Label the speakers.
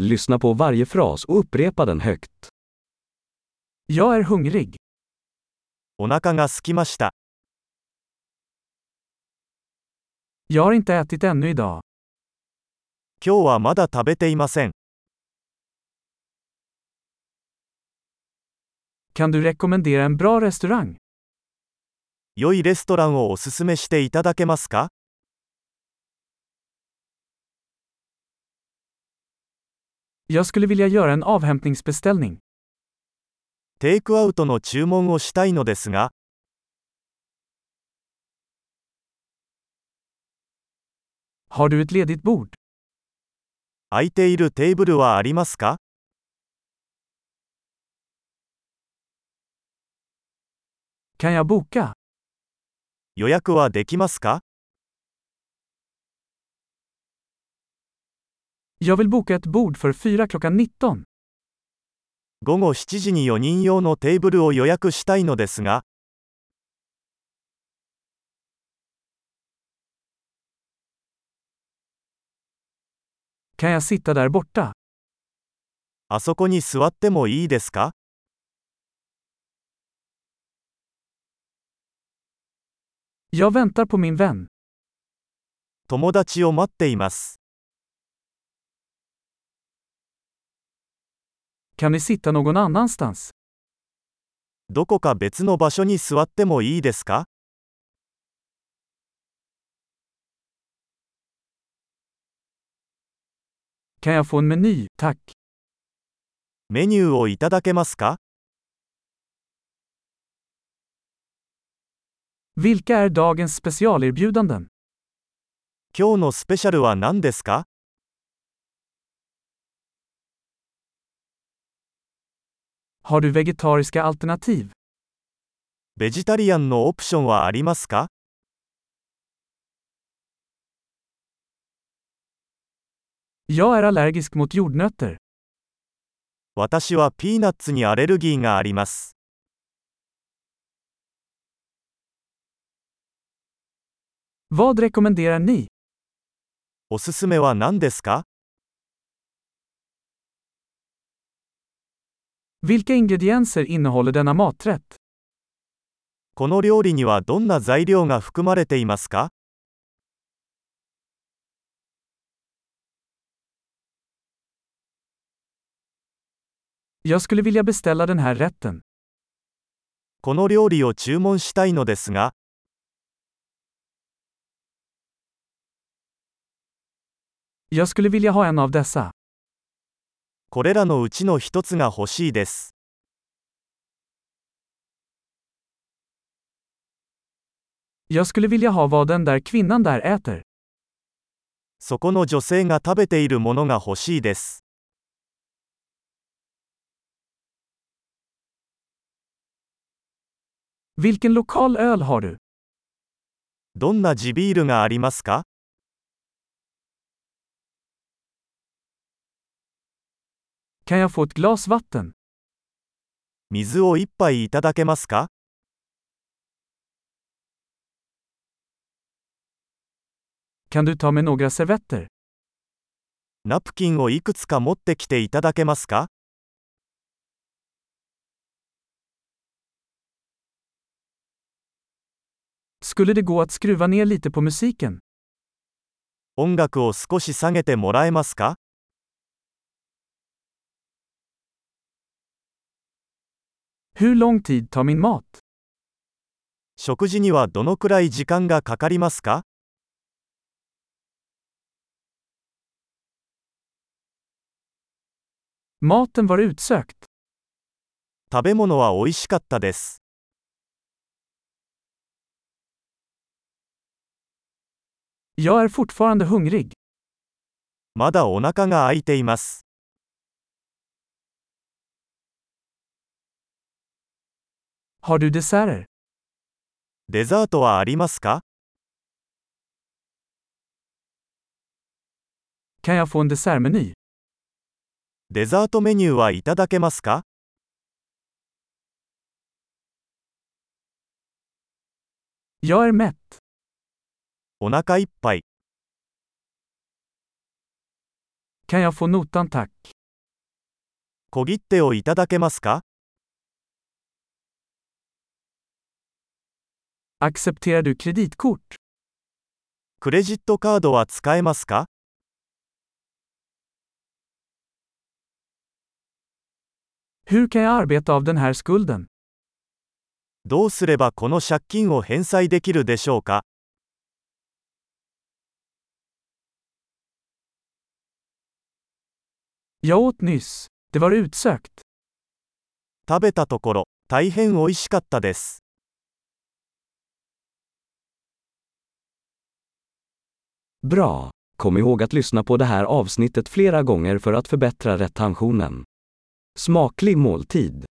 Speaker 1: Lyssna på varje fras och upprepa den högt. Jag är hungrig.
Speaker 2: お腹が空きました。
Speaker 1: Jag har inte ätit ännu idag.
Speaker 2: 今日はまだ食べていません。
Speaker 1: Kan du rekommendera en bra restaurang?
Speaker 2: 良いレストランをおすすめしていただけますか
Speaker 1: Jag skulle vilja göra en avhämtningsbeställning.
Speaker 2: テイクアウトの注文をしたいのですが、
Speaker 1: Har du ett ledigt bord?
Speaker 2: 空いているテーブルはありますか
Speaker 1: Kan jag boka?
Speaker 2: 予約はできますか
Speaker 1: Jag vill boka ett bord för fyra klockan 19.
Speaker 2: 午後7時に4人用のテーブルを予約したいのですが、
Speaker 1: Kan jag sitta där borta?
Speaker 2: あそこに座ってもいいですか
Speaker 1: Jag väntar på min vän.
Speaker 2: 友達を待っています。
Speaker 1: Kan vi sitta någon annanstans?
Speaker 2: どこか別の場所に座ってもいいですか
Speaker 1: Kan jag få en meny, tack?
Speaker 2: メニューをいただけますか
Speaker 1: Vilka är dagens specialerbjudanden?
Speaker 2: 今日のスペシャルは何ですか
Speaker 1: Har du vegetariska alternativ?
Speaker 2: ベジタリアンのオプションはありますか
Speaker 1: Jag är allergisk mot jordnötter.
Speaker 2: 私はピーナッツにアレルギーがあります。
Speaker 1: Vad rekommenderar ni?
Speaker 2: おすすめは何ですか
Speaker 1: Vilka ingredienser innehåller denna maträtt?
Speaker 2: この料理にはどんな材料が含まれていますか
Speaker 1: Jag skulle vilja beställa den här rätten.
Speaker 2: この料理を注文したいのですが、
Speaker 1: Jag skulle vilja ha en av dessa.
Speaker 2: これらのうちの一つが欲しいです。
Speaker 1: Jag skulle vilja ha vad den där kvinnan där äter.
Speaker 2: そこの女性が食べているものが欲しいです。
Speaker 1: Vilken lokal öl har du?
Speaker 2: どんな地ビールがありますか
Speaker 1: Kan jag få ett glas vatten?
Speaker 2: 水を一杯いただけますか
Speaker 1: Kan du ta med några servetter?
Speaker 2: ナプキンをいくつか持ってきていただけますか
Speaker 1: Skulle det gå att skruva ner lite på musiken?
Speaker 2: 音楽を少し下げてもらえますか
Speaker 1: Hur lång tid tar min mat?
Speaker 2: 食事にはどのくらい時間がかかりますか
Speaker 1: Maten var utsökt.
Speaker 2: 食べ物は美味しかったです。
Speaker 1: Jag är fortfarande hungrig.
Speaker 2: まだお腹が空いています。
Speaker 1: Har du desserter?
Speaker 2: デザートはありますか
Speaker 1: Kan jag få en dessertmeny?
Speaker 2: デザートメニューはいただけますか
Speaker 1: Jag är mätt.
Speaker 2: お腹いっぱい。
Speaker 1: Kan jag få notan tack?
Speaker 2: 小切手をいただけますか
Speaker 1: Accepterar du kreditkort?
Speaker 2: クレジットカードは使えますか
Speaker 1: Hur kan jag arbeta av den här skulden?
Speaker 2: どうすればこの借金を返済できるでしょうか
Speaker 1: Jag åt nyss. Det var utsökt.
Speaker 2: 食べたところ、大変美味しかったです。
Speaker 1: Bra! Kom ihåg att lyssna på det här avsnittet flera gånger för att förbättra retentionen. Smaklig måltid!